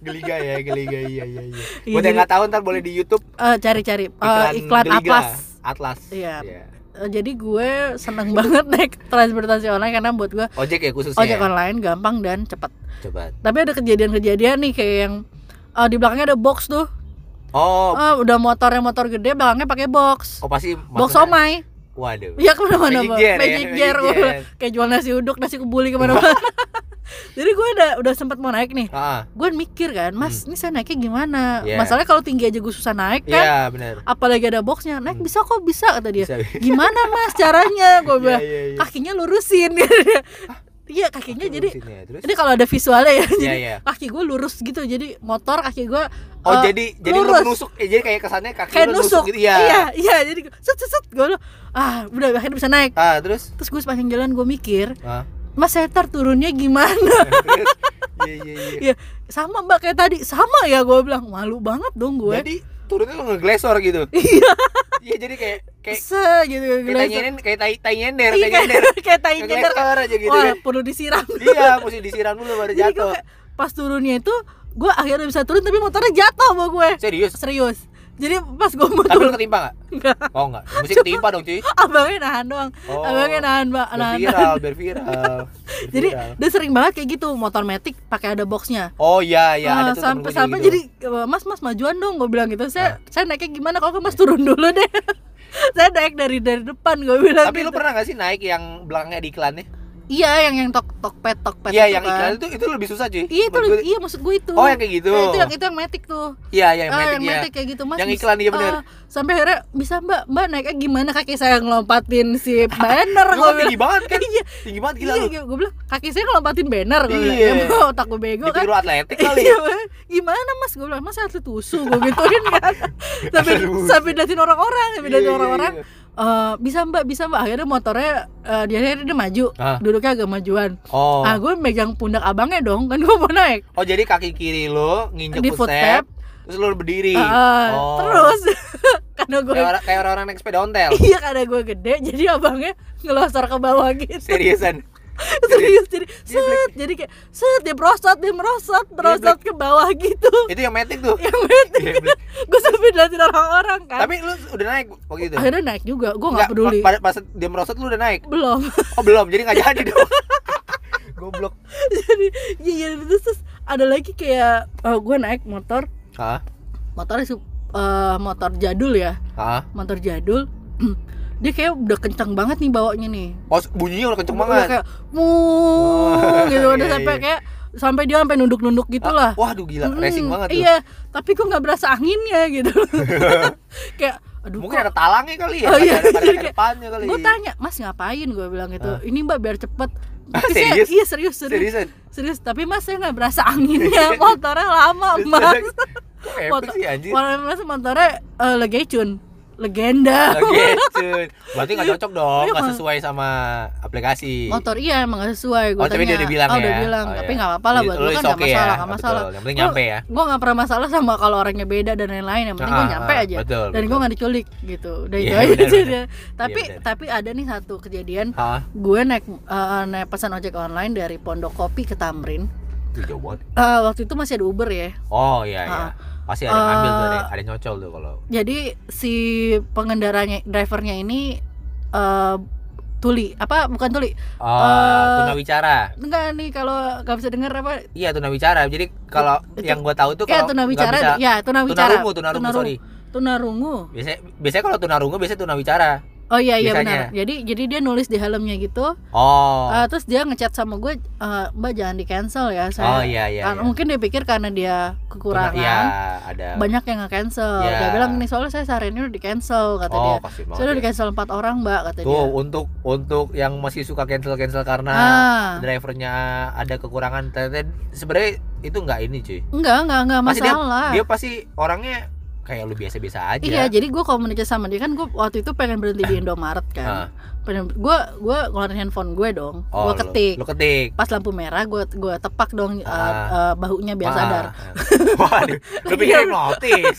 [SPEAKER 2] Geliga ya, geliga iya iya iya.
[SPEAKER 3] Iya,
[SPEAKER 2] Buat yang
[SPEAKER 3] jadi-
[SPEAKER 2] nggak tahu ntar boleh di YouTube
[SPEAKER 3] Eh, cari-cari Eh,
[SPEAKER 2] iklan,
[SPEAKER 3] iklan
[SPEAKER 2] Geliga.
[SPEAKER 3] Atlas.
[SPEAKER 2] Atlas.
[SPEAKER 3] Iya.
[SPEAKER 2] Iya.
[SPEAKER 3] Eh, jadi gue seneng banget naik transportasi online karena buat gue
[SPEAKER 2] Ojek ya khususnya.
[SPEAKER 3] ojek
[SPEAKER 2] ya?
[SPEAKER 3] online gampang dan cepat.
[SPEAKER 2] Coba.
[SPEAKER 3] Tapi ada kejadian-kejadian nih kayak yang eh, di belakangnya ada box tuh.
[SPEAKER 2] Oh,
[SPEAKER 3] Eh, udah motornya motor gede, belakangnya pakai box.
[SPEAKER 2] oh pasti
[SPEAKER 3] box
[SPEAKER 2] maksudnya-
[SPEAKER 3] somai.
[SPEAKER 2] Waduh.
[SPEAKER 3] Iya kemana-mana
[SPEAKER 2] Magic
[SPEAKER 3] Bang.
[SPEAKER 2] jar ya,
[SPEAKER 3] Magic
[SPEAKER 2] magic
[SPEAKER 3] jar,
[SPEAKER 2] jar.
[SPEAKER 3] wah. kayak jual nasi uduk, nasi kebuli kemana-mana. Jadi gue udah udah sempat mau naik nih.
[SPEAKER 2] Ah,
[SPEAKER 3] Gue mikir kan,
[SPEAKER 2] Hmm.
[SPEAKER 3] Mas, ini saya naiknya gimana?
[SPEAKER 2] Iya.
[SPEAKER 3] Masalahnya kalau tinggi aja gue susah naik kan.
[SPEAKER 2] iya benar.
[SPEAKER 3] Apalagi ada boxnya, naik
[SPEAKER 2] Hmm.
[SPEAKER 3] bisa kok bisa kata dia.
[SPEAKER 2] Bisa.
[SPEAKER 3] Gimana Mas caranya? Gue
[SPEAKER 2] Iya,
[SPEAKER 3] Iya. bilang
[SPEAKER 2] iya, iya.
[SPEAKER 3] kakinya lurusin. Iya kakinya
[SPEAKER 2] Oke,
[SPEAKER 3] jadi
[SPEAKER 2] lurusin ya, terus.
[SPEAKER 3] ini kalau ada visualnya ya.
[SPEAKER 2] Iya,
[SPEAKER 3] Jadi
[SPEAKER 2] iya.
[SPEAKER 3] kaki gue lurus gitu. Jadi motor kaki gue
[SPEAKER 2] Oh,
[SPEAKER 3] eh,
[SPEAKER 2] jadi jadi lu
[SPEAKER 3] lurus.
[SPEAKER 2] menusuk. Eh, jadi kayak kesannya kaki
[SPEAKER 3] kayak
[SPEAKER 2] lu
[SPEAKER 3] nusuk.
[SPEAKER 2] gitu ya.
[SPEAKER 3] Iya, iya. Jadi set set set gue ah udah akhirnya bisa naik.
[SPEAKER 2] Ah, terus?
[SPEAKER 3] Terus gue sepanjang jalan gue mikir,
[SPEAKER 2] Ah,
[SPEAKER 3] Mas saya turunnya gimana?
[SPEAKER 2] terus. Iya, iya, iya.
[SPEAKER 3] ya sama mbak kayak tadi sama ya gue bilang malu banget dong gue.
[SPEAKER 2] Jadi turunnya lu ngeglesor gitu.
[SPEAKER 3] Iya.
[SPEAKER 2] Iya, jadi kayak kayak
[SPEAKER 3] Se gitu
[SPEAKER 2] kayak tai nyender, kayak tai tai nyender,
[SPEAKER 3] Iya,
[SPEAKER 2] tai
[SPEAKER 3] kayak-
[SPEAKER 2] nyender.
[SPEAKER 3] kayak tai nyender.
[SPEAKER 2] Ngeglesor aja gitu.
[SPEAKER 3] Wah perlu disiram.
[SPEAKER 2] Iya, mesti disiram dulu baru
[SPEAKER 3] Jadi gue
[SPEAKER 2] jatuh.
[SPEAKER 3] kayak, pas turunnya itu gue akhirnya bisa turun tapi motornya jatuh sama gue.
[SPEAKER 2] Serius?
[SPEAKER 3] Serius. Jadi pas gue mau
[SPEAKER 2] Tapi lu
[SPEAKER 3] turun
[SPEAKER 2] ketimpa nggak?
[SPEAKER 3] enggak.
[SPEAKER 2] Oh enggak, mesti ketimpa dong cuy
[SPEAKER 3] abangnya nahan doang.
[SPEAKER 2] Oh,
[SPEAKER 3] abangnya nahan, Mbak,
[SPEAKER 2] biar
[SPEAKER 3] nahan.
[SPEAKER 2] viral, biar viral Biar
[SPEAKER 3] Jadi
[SPEAKER 2] viral.
[SPEAKER 3] udah sering banget kayak gitu motor metik pakai ada boxnya.
[SPEAKER 2] Oh iya iya
[SPEAKER 3] Ah,
[SPEAKER 2] ada tuh temen
[SPEAKER 3] sampai
[SPEAKER 2] gua
[SPEAKER 3] sampai
[SPEAKER 2] gitu. Nah.
[SPEAKER 3] jadi eh, mas mas majuan dong gue bilang gitu saya saya naiknya gimana kalau ke mas turun dulu deh saya naik dari dari depan gue bilang
[SPEAKER 2] Tapi lu
[SPEAKER 3] gitu.
[SPEAKER 2] pernah gak sih naik yang belakangnya di iklannya?
[SPEAKER 3] iya yang yang tok tok pet tok pet
[SPEAKER 2] Iya
[SPEAKER 3] itu
[SPEAKER 2] yang
[SPEAKER 3] kan.
[SPEAKER 2] iklan itu itu lebih susah cuy
[SPEAKER 3] iya itu
[SPEAKER 2] Menurut
[SPEAKER 3] lu-
[SPEAKER 2] gua-
[SPEAKER 3] iya maksud gue itu
[SPEAKER 2] Oh yang kayak gitu
[SPEAKER 3] Nah, itu yang itu yang metik tuh
[SPEAKER 2] Iya iya, yang
[SPEAKER 3] Ah,
[SPEAKER 2] metik
[SPEAKER 3] yang
[SPEAKER 2] ya
[SPEAKER 3] metik kayak gitu mas
[SPEAKER 2] Yang
[SPEAKER 3] bis-
[SPEAKER 2] iklan, iya bener.
[SPEAKER 3] ah, sampai akhirnya bisa mbak mbak naiknya gimana kaki saya ngelompatin si banner
[SPEAKER 2] Lu
[SPEAKER 3] gue
[SPEAKER 2] kan tinggi banget kan?
[SPEAKER 3] iya
[SPEAKER 2] Tinggi banget gila
[SPEAKER 3] iya
[SPEAKER 2] lu
[SPEAKER 3] gue bilang kaki saya ngelompatin banner gue bilang
[SPEAKER 2] Iya.
[SPEAKER 3] ya Mbak, otak gue bego kan
[SPEAKER 2] Ditiru atletik kali ya.
[SPEAKER 3] Iya, Mas. gimana mas gue bilang mas saya atlet usu gue gituin kan sampai
[SPEAKER 2] Atlet wusu.
[SPEAKER 3] sampai datin orang-orang sampai
[SPEAKER 2] Iya,
[SPEAKER 3] datin
[SPEAKER 2] iya,
[SPEAKER 3] orang-orang
[SPEAKER 2] iya.
[SPEAKER 3] "Eh, bisa mbak bisa mbak akhirnya motornya eh, dia akhirnya dia maju
[SPEAKER 2] Ah.
[SPEAKER 3] duduknya agak majuan
[SPEAKER 2] Oh
[SPEAKER 3] ah gue megang pundak abangnya dong kan gue mau naik
[SPEAKER 2] Oh jadi kaki kiri lu nginjek
[SPEAKER 3] Di
[SPEAKER 2] footstep
[SPEAKER 3] footstep.
[SPEAKER 2] Terus lu berdiri
[SPEAKER 3] Ah,
[SPEAKER 2] Oh. Ya.
[SPEAKER 3] terus karena gue
[SPEAKER 2] Kayak orang- kayak orang-orang naik sepeda ontel
[SPEAKER 3] iya karena gue gede jadi abangnya ngelosor ke bawah gitu
[SPEAKER 2] Seriusan
[SPEAKER 3] serius
[SPEAKER 2] Iya.
[SPEAKER 3] jadi
[SPEAKER 2] Dia
[SPEAKER 3] set jadi kayak set dia merosot dia merosot merosot ke bawah gitu
[SPEAKER 2] Itu yang metik tuh
[SPEAKER 3] yang metik kan?
[SPEAKER 2] Iya, Black.
[SPEAKER 3] gue sampai diliatin orang-orang kan
[SPEAKER 2] Tapi lu udah naik waktu itu?
[SPEAKER 3] akhirnya naik juga gue
[SPEAKER 2] Iya. Nggak,
[SPEAKER 3] nggak peduli
[SPEAKER 2] Pas, pas dia merosot lu udah naik?
[SPEAKER 3] belum
[SPEAKER 2] Oh belum, jadi nggak jadi dong Goblok
[SPEAKER 3] jadi iya iya, terus, terus ada lagi kayak gue naik motor
[SPEAKER 2] Hah?
[SPEAKER 3] motornya sup- eh, motor jadul ya
[SPEAKER 2] Hah?
[SPEAKER 3] motor jadul dia kayak udah kencang banget nih bawanya nih
[SPEAKER 2] Oh bunyinya udah kenceng
[SPEAKER 3] udah
[SPEAKER 2] banget
[SPEAKER 3] kayak muuu gitu
[SPEAKER 2] Wah,
[SPEAKER 3] udah
[SPEAKER 2] iya,
[SPEAKER 3] sampai
[SPEAKER 2] iya.
[SPEAKER 3] kayak sampai dia sampai nunduk-nunduk
[SPEAKER 2] Ah,
[SPEAKER 3] gitulah
[SPEAKER 2] Waduh gila,
[SPEAKER 3] Mm,
[SPEAKER 2] racing banget tuh
[SPEAKER 3] iya tapi gue nggak berasa anginnya gitu kayak aduh
[SPEAKER 2] Mungkin ada talangnya kali ya
[SPEAKER 3] Oh, iya.
[SPEAKER 2] Ada, ada,
[SPEAKER 3] Jadi
[SPEAKER 2] ada
[SPEAKER 3] kayak-
[SPEAKER 2] depannya kali
[SPEAKER 3] gue tanya mas ngapain gue bilang gitu
[SPEAKER 2] Ah.
[SPEAKER 3] ini mbak biar cepet
[SPEAKER 2] Ah,
[SPEAKER 3] Tapi saya-
[SPEAKER 2] serius?
[SPEAKER 3] iya serius serius
[SPEAKER 2] Seriusan?
[SPEAKER 3] serius tapi mas saya nggak berasa anginnya motornya lama mas
[SPEAKER 2] Kok epic sih anjir?
[SPEAKER 3] Motor- mas motornya eh, legecun legenda
[SPEAKER 2] Oke,
[SPEAKER 3] gitu.
[SPEAKER 2] cuy. Berarti nggak cocok dong,
[SPEAKER 3] Iya,
[SPEAKER 2] nggak
[SPEAKER 3] Mas.
[SPEAKER 2] sesuai sama aplikasi.
[SPEAKER 3] motor iya emang gak sesuai gue
[SPEAKER 2] Oh, tapi dia udah bilang
[SPEAKER 3] oh,
[SPEAKER 2] ya.
[SPEAKER 3] udah bilang
[SPEAKER 2] Oh,
[SPEAKER 3] tapi
[SPEAKER 2] iya.
[SPEAKER 3] nggak apa-apa lah
[SPEAKER 2] Jadi
[SPEAKER 3] buat
[SPEAKER 2] lu
[SPEAKER 3] gue kan
[SPEAKER 2] it's
[SPEAKER 3] nggak
[SPEAKER 2] okay ya.
[SPEAKER 3] masalah
[SPEAKER 2] Oh,
[SPEAKER 3] nggak masalah
[SPEAKER 2] betul. Yang penting nyampe ya.
[SPEAKER 3] gue nggak pernah masalah sama kalau orangnya beda dan lain-lain yang penting gue
[SPEAKER 2] Ah,
[SPEAKER 3] nyampe
[SPEAKER 2] ah,
[SPEAKER 3] aja
[SPEAKER 2] betul,
[SPEAKER 3] dan gue
[SPEAKER 2] betul.
[SPEAKER 3] nggak diculik gitu udah
[SPEAKER 2] Iya,
[SPEAKER 3] itu aja
[SPEAKER 2] benar,
[SPEAKER 3] sih
[SPEAKER 2] benar.
[SPEAKER 3] dia. tapi
[SPEAKER 2] benar.
[SPEAKER 3] tapi ada nih satu kejadian
[SPEAKER 2] Hah?
[SPEAKER 3] gue naik eh, naik pesan ojek online dari Pondok Kopi ke Tamrin
[SPEAKER 2] Itu jauh banget.
[SPEAKER 3] Eh, waktu itu masih ada Uber ya
[SPEAKER 2] Oh iya iya.
[SPEAKER 3] Ah.
[SPEAKER 2] Pasti ada yang ambil tuh, ada,
[SPEAKER 3] Eh,
[SPEAKER 2] ada yang nyocol tuh kalau.
[SPEAKER 3] jadi si pengendaranya drivernya ini eh tuli apa bukan tuli
[SPEAKER 2] Oh,
[SPEAKER 3] Eh.
[SPEAKER 2] tunawicara.
[SPEAKER 3] enggak nih kalau nggak bisa dengar apa
[SPEAKER 2] Iya tunawicara. Jadi kalau
[SPEAKER 3] Itu-
[SPEAKER 2] yang gua tahu tuh
[SPEAKER 3] ya
[SPEAKER 2] kalau
[SPEAKER 3] tunawicara
[SPEAKER 2] nggak bisa-
[SPEAKER 3] ya tunawicara
[SPEAKER 2] tunarungu, tunarungu,
[SPEAKER 3] Tunarungu.
[SPEAKER 2] sorry.
[SPEAKER 3] tunarungu
[SPEAKER 2] Biasanya biasanya kalau tunarungu biasanya tunawicara.
[SPEAKER 3] oh iya iya benar
[SPEAKER 2] Biasanya.
[SPEAKER 3] jadi jadi dia nulis di helmnya gitu
[SPEAKER 2] Oh.
[SPEAKER 3] Eh, terus dia ngechat sama gue eh, mbak jangan di cancel ya
[SPEAKER 2] oh
[SPEAKER 3] saya
[SPEAKER 2] iya iya.
[SPEAKER 3] Karena-
[SPEAKER 2] iya.
[SPEAKER 3] mungkin dia pikir karena dia
[SPEAKER 2] Tuna- Iya,
[SPEAKER 3] kekurangan
[SPEAKER 2] ada.
[SPEAKER 3] ah. banyak yang nge cancel
[SPEAKER 2] Iya.
[SPEAKER 3] dia bilang nih soalnya saya sehari ini udah di cancel kata
[SPEAKER 2] oh,
[SPEAKER 3] dia
[SPEAKER 2] kasih
[SPEAKER 3] saya udah di
[SPEAKER 2] banget. ya.
[SPEAKER 3] cancel empat orang mbak kata
[SPEAKER 2] Tuh,
[SPEAKER 3] dia
[SPEAKER 2] untuk untuk yang masih suka cancel-cancel karena
[SPEAKER 3] ah
[SPEAKER 2] drivernya ada kekurangan ternyata sebenarnya itu nggak ini cuy
[SPEAKER 3] enggak enggak enggak
[SPEAKER 2] Pasti
[SPEAKER 3] masalah
[SPEAKER 2] dia pasti orangnya kayak lu biasa-biasa aja.
[SPEAKER 3] Ah.
[SPEAKER 2] Ah.
[SPEAKER 3] Iya, jadi gue komunikasi sama dia kan gue waktu itu pengen berhenti di Indomaret
[SPEAKER 2] Hah.
[SPEAKER 3] kan. Pengen gue gue ngeluarin handphone gue dong.
[SPEAKER 2] Ah. Oh,
[SPEAKER 3] gue ketik.
[SPEAKER 2] Lu, lu ketik.
[SPEAKER 3] Pas lampu merah gue gue tepak dong uh,
[SPEAKER 2] Ah.
[SPEAKER 3] uh, bahunya biar sadar. Iya.
[SPEAKER 2] Wah, di- lu
[SPEAKER 3] Lagi-
[SPEAKER 2] pikir hipnotis.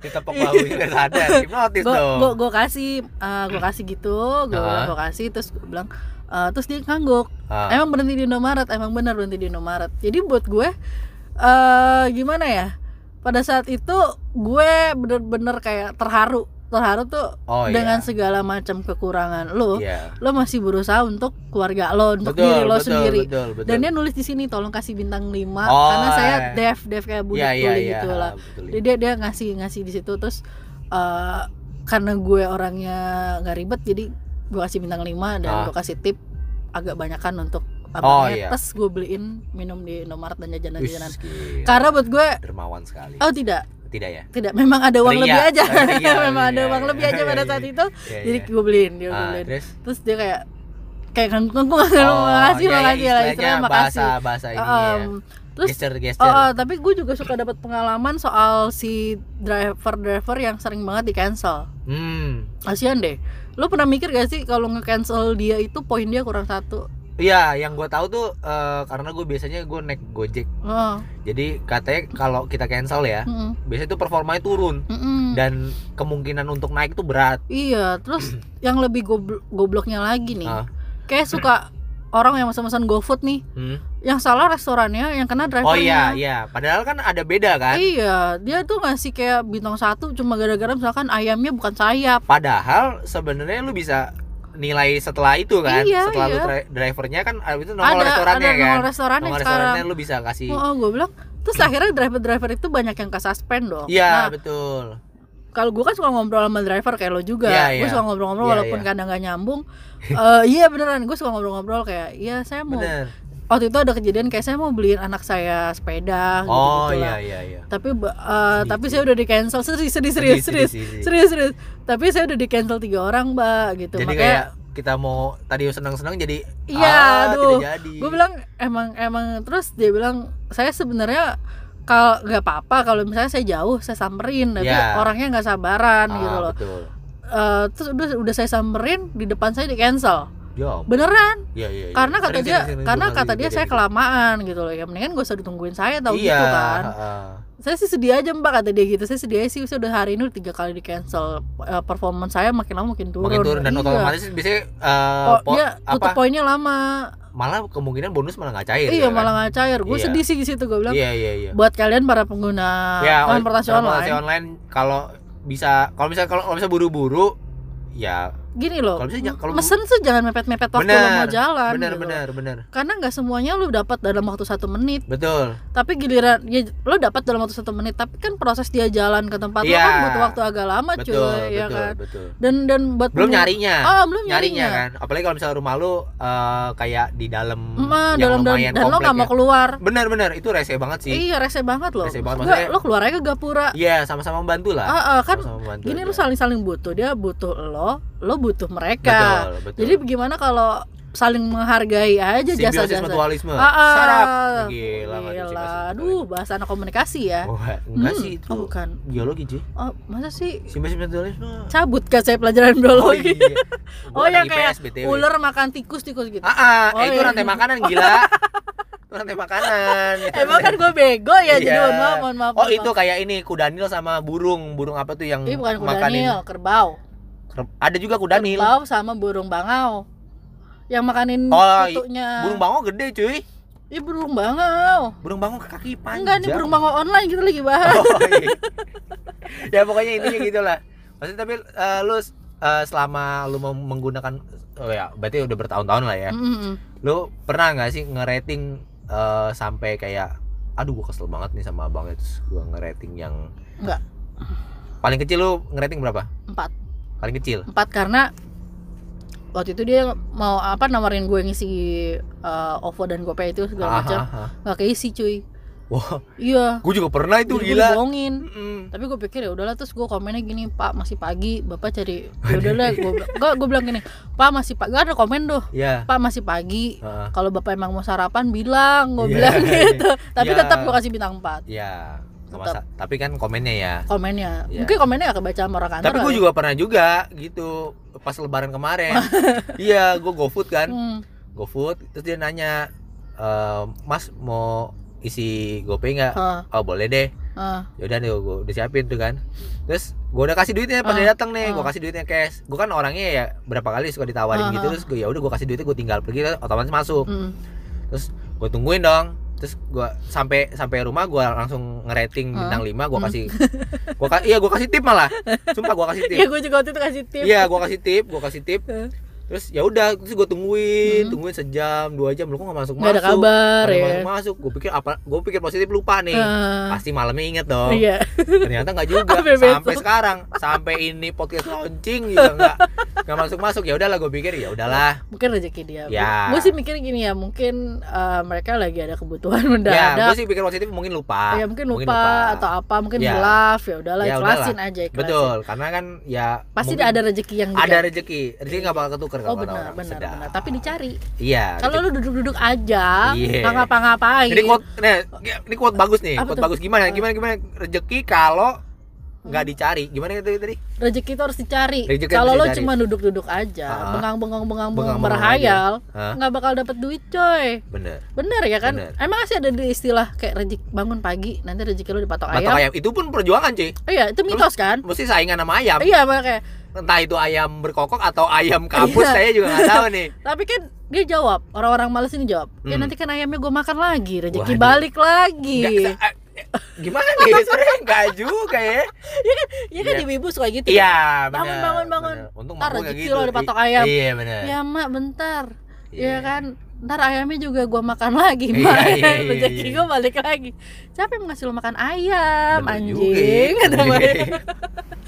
[SPEAKER 2] Ditepok
[SPEAKER 3] Iya.
[SPEAKER 2] bahu juga sadar. Hipnotis
[SPEAKER 3] Gue
[SPEAKER 2] dong.
[SPEAKER 3] gue gue kasih uh, gue kasih gitu, gue
[SPEAKER 2] Ah.
[SPEAKER 3] gue kasih terus gue bilang uh, terus dia ngangguk.
[SPEAKER 2] Ah.
[SPEAKER 3] Emang berhenti di Indomaret, emang benar berhenti di Indomaret. Jadi buat gue eh gimana ya? Pada saat itu gue bener-bener kayak terharu, terharu tuh
[SPEAKER 2] oh,
[SPEAKER 3] dengan segala macam kekurangan lo.
[SPEAKER 2] Iya.
[SPEAKER 3] Lo masih berusaha untuk keluarga lo, untuk
[SPEAKER 2] Betul,
[SPEAKER 3] diri lo
[SPEAKER 2] betul,
[SPEAKER 3] sendiri.
[SPEAKER 2] Betul, betul. Iya,
[SPEAKER 3] Dan dia nulis di sini tolong kasih bintang 5
[SPEAKER 2] Oh,
[SPEAKER 3] karena saya
[SPEAKER 2] iya.
[SPEAKER 3] dev, dev kayak budak
[SPEAKER 2] Iya, iya,
[SPEAKER 3] tuli
[SPEAKER 2] iya.
[SPEAKER 3] gitu lah.
[SPEAKER 2] betul.
[SPEAKER 3] Dia dia, dia ngasih ngasih di situ terus eh karena gue orangnya nggak ribet jadi gue kasih bintang 5 dan
[SPEAKER 2] Ah.
[SPEAKER 3] gue kasih tip agak banyakan untuk
[SPEAKER 2] Oh,
[SPEAKER 3] abangnya
[SPEAKER 2] iya.
[SPEAKER 3] terus gue beliin minum di Indomaret dan
[SPEAKER 2] Wih,
[SPEAKER 3] jajanan-jajanan
[SPEAKER 2] gila.
[SPEAKER 3] karena buat gue
[SPEAKER 2] dermawan sekali.
[SPEAKER 3] oh tidak
[SPEAKER 2] Tidak ya?
[SPEAKER 3] tidak memang ada uang
[SPEAKER 2] Ria.
[SPEAKER 3] lebih aja
[SPEAKER 2] Ria,
[SPEAKER 3] memang ada
[SPEAKER 2] iya,
[SPEAKER 3] uang
[SPEAKER 2] iya.
[SPEAKER 3] lebih aja pada saat itu
[SPEAKER 2] Iya,
[SPEAKER 3] jadi
[SPEAKER 2] iya.
[SPEAKER 3] gue beliin dia gue
[SPEAKER 2] Ah,
[SPEAKER 3] beliin
[SPEAKER 2] terus
[SPEAKER 3] terus dia kayak kayak kan gue nggak
[SPEAKER 2] Oh,
[SPEAKER 3] makasih
[SPEAKER 2] iya, iya,
[SPEAKER 3] makasih lah
[SPEAKER 2] istilahnya
[SPEAKER 3] istilahnya makasih
[SPEAKER 2] Bahasa bahasa ini
[SPEAKER 3] Em,
[SPEAKER 2] ya.
[SPEAKER 3] terus
[SPEAKER 2] Gesture
[SPEAKER 3] Oh,
[SPEAKER 2] gesture.
[SPEAKER 3] oh, tapi gue juga suka dapat pengalaman soal si driver-driver yang sering banget di cancel.
[SPEAKER 2] Hmm.
[SPEAKER 3] Kasian deh. Lo pernah mikir gak sih kalau nge-cancel dia itu poin dia kurang satu?
[SPEAKER 2] Iya, yang gue tahu tuh eh, karena gue biasanya gue naik Gojek.
[SPEAKER 3] Oh,
[SPEAKER 2] Jadi katanya kalau kita cancel ya,
[SPEAKER 3] mm-mm,
[SPEAKER 2] biasanya tuh performanya turun
[SPEAKER 3] mm-mm.
[SPEAKER 2] dan kemungkinan untuk naik tuh berat.
[SPEAKER 3] Iya, terus yang lebih gobl- gobloknya lagi nih.
[SPEAKER 2] Ah.
[SPEAKER 3] Kayak suka orang yang pesan-pesan GoFood nih,
[SPEAKER 2] Hmm.
[SPEAKER 3] yang salah restorannya, yang kena drivernya.
[SPEAKER 2] Oh iya, iya. Padahal kan ada beda kan?
[SPEAKER 3] Iya, dia tuh ngasih kayak bintang satu cuma gara-gara misalkan ayamnya bukan sayap.
[SPEAKER 2] Padahal sebenarnya lu bisa nilai setelah itu kan,
[SPEAKER 3] Iya,
[SPEAKER 2] setelah lu
[SPEAKER 3] iya.
[SPEAKER 2] dri- drivernya kan ada itu nongol
[SPEAKER 3] Ada,
[SPEAKER 2] restorannya
[SPEAKER 3] ada
[SPEAKER 2] kan.
[SPEAKER 3] nongol restorannya
[SPEAKER 2] Nongol
[SPEAKER 3] sekarang.
[SPEAKER 2] restorannya lu bisa kasih.
[SPEAKER 3] Oh, gue bilang terus akhirnya driver-driver itu banyak yang ke suspend dong. Nah,
[SPEAKER 2] Iya, betul.
[SPEAKER 3] kalau gue kan suka ngobrol sama driver kayak lo juga.
[SPEAKER 2] Iya,
[SPEAKER 3] Gue
[SPEAKER 2] iya.
[SPEAKER 3] suka ngobrol-ngobrol
[SPEAKER 2] Iya,
[SPEAKER 3] walaupun
[SPEAKER 2] iya.
[SPEAKER 3] kadang nggak nyambung. Eh, iya beneran, gue suka ngobrol-ngobrol kayak, iya saya mau.
[SPEAKER 2] Bener.
[SPEAKER 3] Waktu itu ada kejadian kayak saya mau beliin anak saya sepeda.
[SPEAKER 2] Oh
[SPEAKER 3] gitu-gitu
[SPEAKER 2] iya
[SPEAKER 3] lah.
[SPEAKER 2] iya iya.
[SPEAKER 3] Tapi ba- eh,
[SPEAKER 2] Sedih,
[SPEAKER 3] tapi
[SPEAKER 2] sedih.
[SPEAKER 3] saya udah di cancel serius serius serius serius
[SPEAKER 2] Sedih, sedih, sedih.
[SPEAKER 3] serius serius. Tapi saya udah di cancel tiga orang mbak gitu.
[SPEAKER 2] Jadi
[SPEAKER 3] Makanya
[SPEAKER 2] kayak kita mau tadi senang-senang jadi
[SPEAKER 3] Iya,
[SPEAKER 2] ah,
[SPEAKER 3] aduh.
[SPEAKER 2] tidak jadi.
[SPEAKER 3] gue bilang emang emang terus dia bilang saya sebenarnya kalau nggak apa-apa kalau misalnya saya jauh saya samperin tapi
[SPEAKER 2] Ya.
[SPEAKER 3] orangnya nggak sabaran
[SPEAKER 2] Ah,
[SPEAKER 3] gitu loh
[SPEAKER 2] Betul.
[SPEAKER 3] Eh, terus udah udah saya samperin di depan saya di cancel
[SPEAKER 2] Ya,
[SPEAKER 3] beneran
[SPEAKER 2] iya, iya, iya.
[SPEAKER 3] karena kata
[SPEAKER 2] Sering,
[SPEAKER 3] dia
[SPEAKER 2] sering, sering
[SPEAKER 3] karena
[SPEAKER 2] gua
[SPEAKER 3] kata
[SPEAKER 2] ngalamin
[SPEAKER 3] dia saya
[SPEAKER 2] kejadian
[SPEAKER 3] kelamaan gitu loh ya mendingan gak usah ditungguin saya
[SPEAKER 2] gitu.
[SPEAKER 3] tahu
[SPEAKER 2] iya,
[SPEAKER 3] gitu kan
[SPEAKER 2] heeh.
[SPEAKER 3] saya sih sedih aja mbak kata dia gitu saya sedih aja sih saya udah hari ini udah tiga kali di cancel Eh, performance saya makin lama makin turun
[SPEAKER 2] Makin turun dan
[SPEAKER 3] Iya.
[SPEAKER 2] otomatis biasanya eh,
[SPEAKER 3] Oh,
[SPEAKER 2] po-
[SPEAKER 3] dia tutup
[SPEAKER 2] apa
[SPEAKER 3] poinnya lama
[SPEAKER 2] malah kemungkinan bonus malah nggak cair.
[SPEAKER 3] iya
[SPEAKER 2] ya kan?
[SPEAKER 3] malah nggak cair gue
[SPEAKER 2] Iya.
[SPEAKER 3] sedih sih di situ gue bilang
[SPEAKER 2] Iya iya iya.
[SPEAKER 3] buat kalian para pengguna
[SPEAKER 2] Ya, oj-
[SPEAKER 3] transportasi
[SPEAKER 2] transportasi
[SPEAKER 3] online
[SPEAKER 2] online kalau bisa kalau bisa kalau kalau bisa buru-buru ya
[SPEAKER 3] gini loh
[SPEAKER 2] Kalau bisa jangan- kalau-
[SPEAKER 3] mesen tuh jangan mepet-mepet waktu lo mau
[SPEAKER 2] Bener,
[SPEAKER 3] jalan
[SPEAKER 2] benar
[SPEAKER 3] gitu.
[SPEAKER 2] benar benar.
[SPEAKER 3] karena nggak semuanya lu dapat dalam waktu satu menit
[SPEAKER 2] Betul.
[SPEAKER 3] tapi giliran ya lo dapat dalam waktu satu menit tapi kan proses dia jalan ke tempat lo
[SPEAKER 2] Iya.
[SPEAKER 3] kan butuh waktu agak lama cuy
[SPEAKER 2] betul,
[SPEAKER 3] ya
[SPEAKER 2] betul,
[SPEAKER 3] kan
[SPEAKER 2] betul.
[SPEAKER 3] dan dan buat
[SPEAKER 2] Belum
[SPEAKER 3] pengguna-
[SPEAKER 2] nyarinya.
[SPEAKER 3] oh belum
[SPEAKER 2] nyarinya
[SPEAKER 3] nyarinya,
[SPEAKER 2] kan apalagi kalau misalnya rumah lu eh, kayak di dalam
[SPEAKER 3] Emak,
[SPEAKER 2] yang
[SPEAKER 3] dalam dan,
[SPEAKER 2] lumayan
[SPEAKER 3] dan lo
[SPEAKER 2] komplek
[SPEAKER 3] nggak mau
[SPEAKER 2] ya.
[SPEAKER 3] keluar
[SPEAKER 2] benar-benar itu rese banget sih
[SPEAKER 3] iya rese banget lo
[SPEAKER 2] Rese banget,
[SPEAKER 3] Gua-
[SPEAKER 2] maksudnya-
[SPEAKER 3] lo keluar aja ke Gapura
[SPEAKER 2] iya ya. sama-sama membantu lah
[SPEAKER 3] Ah, ah, kan
[SPEAKER 2] sama-sama membantu
[SPEAKER 3] gini
[SPEAKER 2] aja.
[SPEAKER 3] lu saling saling butuh dia butuh lo lo butuh mereka
[SPEAKER 2] betul betul
[SPEAKER 3] Jadi gimana kalau saling menghargai aja
[SPEAKER 2] Iya. simbiosis
[SPEAKER 3] jasa-jasa?
[SPEAKER 2] mutualisme
[SPEAKER 3] Ah, ah.
[SPEAKER 2] sarap gila gitu, nggak tuh
[SPEAKER 3] Gila,
[SPEAKER 2] simbiosis
[SPEAKER 3] aduh bahasa anak komunikasi ya.
[SPEAKER 2] mutualisme. Wah, eh. Oh, enggak
[SPEAKER 3] Hmm,
[SPEAKER 2] sih itu
[SPEAKER 3] Oh, bukan.
[SPEAKER 2] biologi cuy
[SPEAKER 3] Oh, masa sih
[SPEAKER 2] simbiosis mutualisme
[SPEAKER 3] cabut kan saya pelajaran biologi?
[SPEAKER 2] iya. Gua
[SPEAKER 3] Oh, yang
[SPEAKER 2] anak
[SPEAKER 3] kayak
[SPEAKER 2] IPS, BTW.
[SPEAKER 3] Ular makan tikus tikus gitu.
[SPEAKER 2] iya, ah, ah,
[SPEAKER 3] Oh,
[SPEAKER 2] eh, itu
[SPEAKER 3] iya.
[SPEAKER 2] rantai makanan gila itu rantai makanan
[SPEAKER 3] Emang kan gue bego ya jadi
[SPEAKER 2] Iya.
[SPEAKER 3] mohon maaf, mohon maaf.
[SPEAKER 2] Oh
[SPEAKER 3] mohon
[SPEAKER 2] itu kayak ini kudanil sama burung burung apa tuh yang
[SPEAKER 3] maaf. Ih, bukan
[SPEAKER 2] makanin
[SPEAKER 3] kudanil, kerbau.
[SPEAKER 2] Kerb- Ada juga kudanil.
[SPEAKER 3] Kerbau sama burung bangau. Yang makanin
[SPEAKER 2] Oh, i-
[SPEAKER 3] kutunya.
[SPEAKER 2] Burung bangau gede cuy.
[SPEAKER 3] Ih, burung bangau.
[SPEAKER 2] Burung bangau ke kaki panjang.
[SPEAKER 3] Enggak nih burung bangau online kita lagi bahas.
[SPEAKER 2] Oh, iya. ya pokoknya intinya gitulah. Maksudnya tapi eh, lu eh, selama lu mem- menggunakan oh ya berarti udah bertahun-tahun lah ya.
[SPEAKER 3] Mm-mm.
[SPEAKER 2] Lu pernah nggak sih ngerating eh, sampai kayak aduh gua kesel banget nih sama abangnya terus gua ngerating yang
[SPEAKER 3] Nggak.
[SPEAKER 2] Paling kecil lu ngerating berapa?
[SPEAKER 3] Empat.
[SPEAKER 2] Paling kecil.
[SPEAKER 3] empat karena waktu itu dia mau apa nawarin gue ngisi eh, OVO dan GoPay itu segala macam
[SPEAKER 2] Aha.
[SPEAKER 3] nggak keisi cuy
[SPEAKER 2] ah, Wah,
[SPEAKER 3] iya
[SPEAKER 2] gua juga pernah itu
[SPEAKER 3] jadi gue
[SPEAKER 2] gila.
[SPEAKER 3] dibohongin
[SPEAKER 2] Mm-mm.
[SPEAKER 3] tapi gue pikir ya udahlah terus gue komennya gini pak masih pagi bapak cari ya udahlah gue bilang- nggak, gue bilang gini pak masih pagi ada komen tuh
[SPEAKER 2] Ya.
[SPEAKER 3] pak masih pagi
[SPEAKER 2] Heeh.
[SPEAKER 3] kalau bapak emang mau sarapan bilang gue
[SPEAKER 2] Iya,
[SPEAKER 3] bilang
[SPEAKER 2] iya.
[SPEAKER 3] gitu tapi
[SPEAKER 2] Iya.
[SPEAKER 3] tetap gue kasih bintang 4
[SPEAKER 2] Ya. masa. Tapi kan komennya ya.
[SPEAKER 3] komennya
[SPEAKER 2] Iya.
[SPEAKER 3] mungkin komennya gak kebaca sama orang kantor
[SPEAKER 2] Tapi gue
[SPEAKER 3] kali.
[SPEAKER 2] juga pernah juga gitu pas lebaran kemarin. iya, gue GoFood kan.
[SPEAKER 3] Hmm.
[SPEAKER 2] GoFood terus dia nanya, "Eh, "Mas mau isi GoPay nggak?"
[SPEAKER 3] Heeh,
[SPEAKER 2] Oh, boleh deh.
[SPEAKER 3] heeh.
[SPEAKER 2] Yaudah deh gue udah siapin tuh kan. Terus gue udah kasih duitnya pas
[SPEAKER 3] Ah,
[SPEAKER 2] dia datang nih, gue
[SPEAKER 3] ah.
[SPEAKER 2] kasih duitnya cash. Gue kan orangnya ya berapa kali suka
[SPEAKER 3] Ah,
[SPEAKER 2] ditawarin
[SPEAKER 3] ah.
[SPEAKER 2] gitu terus gue ya udah gue kasih duitnya gue tinggal pergi otomatis masuk.
[SPEAKER 3] Hmm.
[SPEAKER 2] Gue tungguin dong. Terus gue sampai sampai rumah gue langsung ngerating
[SPEAKER 3] Ah.
[SPEAKER 2] bintang 5 gue
[SPEAKER 3] Hmm.
[SPEAKER 2] kasih gua ka- iya gue kasih tip malah. Sumpah gue kasih tip.
[SPEAKER 3] ya gue juga waktu itu kasih tip
[SPEAKER 2] Iya, gua kasih tip, gua kasih tip.
[SPEAKER 3] Heeh.
[SPEAKER 2] Terus ya udah, terus gua tungguin,
[SPEAKER 3] Hmm.
[SPEAKER 2] tungguin sejam, dua jam, lu kok gak masuk
[SPEAKER 3] nggak
[SPEAKER 2] masuk. Iya,
[SPEAKER 3] ada kabar ya
[SPEAKER 2] masuk masuk. Gua pikir apa? Gua pikir positif lupa nih.
[SPEAKER 3] Heeh.
[SPEAKER 2] Pasti malamnya inget dong.
[SPEAKER 3] Eh, iya
[SPEAKER 2] Ternyata nggak juga.
[SPEAKER 3] Sampai besok.
[SPEAKER 2] sampai sekarang, sampai ini podcast launching juga nggak nggak masuk masuk. Ya udahlah, gua pikir ya udahlah.
[SPEAKER 3] mungkin rezeki dia
[SPEAKER 2] Ya.
[SPEAKER 3] gue sih mikir gini ya mungkin eh, mereka lagi ada kebutuhan
[SPEAKER 2] Ya, gua
[SPEAKER 3] mendadak
[SPEAKER 2] sih pikir positif mungkin lupa.
[SPEAKER 3] ya mungkin lupa, atau apa mungkin
[SPEAKER 2] Ya.
[SPEAKER 3] hilaf ya udahlah
[SPEAKER 2] Ya
[SPEAKER 3] ikhlasin aja ikhlasin
[SPEAKER 2] Betul, karena kan ya
[SPEAKER 3] pasti
[SPEAKER 2] mungkin
[SPEAKER 3] ada rezeki yang
[SPEAKER 2] ada
[SPEAKER 3] juga.
[SPEAKER 2] rezeki. Rezeki nggak bakal ketuker
[SPEAKER 3] oh
[SPEAKER 2] kalau kata
[SPEAKER 3] benar
[SPEAKER 2] orang.
[SPEAKER 3] benar
[SPEAKER 2] Sedap.
[SPEAKER 3] benar tapi dicari
[SPEAKER 2] Iya.
[SPEAKER 3] kalau lu duduk-duduk aja
[SPEAKER 2] Iya.
[SPEAKER 3] nggak ngapa-ngapain
[SPEAKER 2] Ini quote, nih, ini quote bagus nih.
[SPEAKER 3] Apa
[SPEAKER 2] quote
[SPEAKER 3] tuh?
[SPEAKER 2] bagus gimana?
[SPEAKER 3] Apa? Hmm.
[SPEAKER 2] Gimana gimana rezeki kalau nggak dicari. Gimana itu tadi?
[SPEAKER 3] rezeki itu harus dicari
[SPEAKER 2] Rezeki harus
[SPEAKER 3] kalau lu
[SPEAKER 2] dicari.
[SPEAKER 3] cuma duduk-duduk aja
[SPEAKER 2] Ah.
[SPEAKER 3] bengang-bengang bengang
[SPEAKER 2] Bengang-bengang
[SPEAKER 3] berhayal
[SPEAKER 2] Hah?
[SPEAKER 3] nggak bakal dapet duit coy
[SPEAKER 2] Bener.
[SPEAKER 3] bener ya kan
[SPEAKER 2] Bener.
[SPEAKER 3] emang sih ada di istilah kayak rezeki bangun pagi nanti rezeki lu dipatok
[SPEAKER 2] Batok
[SPEAKER 3] ayam
[SPEAKER 2] ayam itu pun perjuangan cuy.
[SPEAKER 3] Oh iya itu mitos kan
[SPEAKER 2] Mesti saingan sama ayam.
[SPEAKER 3] iya makanya
[SPEAKER 2] Entah itu ayam berkokok atau ayam kampus,
[SPEAKER 3] Iya.
[SPEAKER 2] saya juga nggak tahu nih.
[SPEAKER 3] Tapi kan dia jawab, orang-orang males ini jawab. Ya
[SPEAKER 2] Hmm.
[SPEAKER 3] nanti kan ayamnya gue makan lagi, rezeki
[SPEAKER 2] Waduh.
[SPEAKER 3] balik lagi.
[SPEAKER 2] Nggak- eh, gimana nih? Sebenarnya nggak juga ya.
[SPEAKER 3] Ya kan
[SPEAKER 2] Iya.
[SPEAKER 3] ibu-ibu suka gitu.
[SPEAKER 2] Iya, bener.
[SPEAKER 3] Bangun, bangun, bangun.
[SPEAKER 2] Bener. Untung
[SPEAKER 3] Ntar
[SPEAKER 2] mak gua nggak
[SPEAKER 3] rezeki
[SPEAKER 2] gitu.
[SPEAKER 3] lo ada patok ayam.
[SPEAKER 2] Iya, bener.
[SPEAKER 3] Ya mak bentar.
[SPEAKER 2] Iya.
[SPEAKER 3] Ya kan ntar ayamnya juga gue makan lagi,
[SPEAKER 2] Iya,
[SPEAKER 3] mak.
[SPEAKER 2] iya, iya,
[SPEAKER 3] rezeki
[SPEAKER 2] iya.
[SPEAKER 3] gue balik lagi. Siapa yang ngasih lo makan ayam,
[SPEAKER 2] Bener juga ya.
[SPEAKER 3] anjing? Kata
[SPEAKER 2] Iya.
[SPEAKER 3] Maya.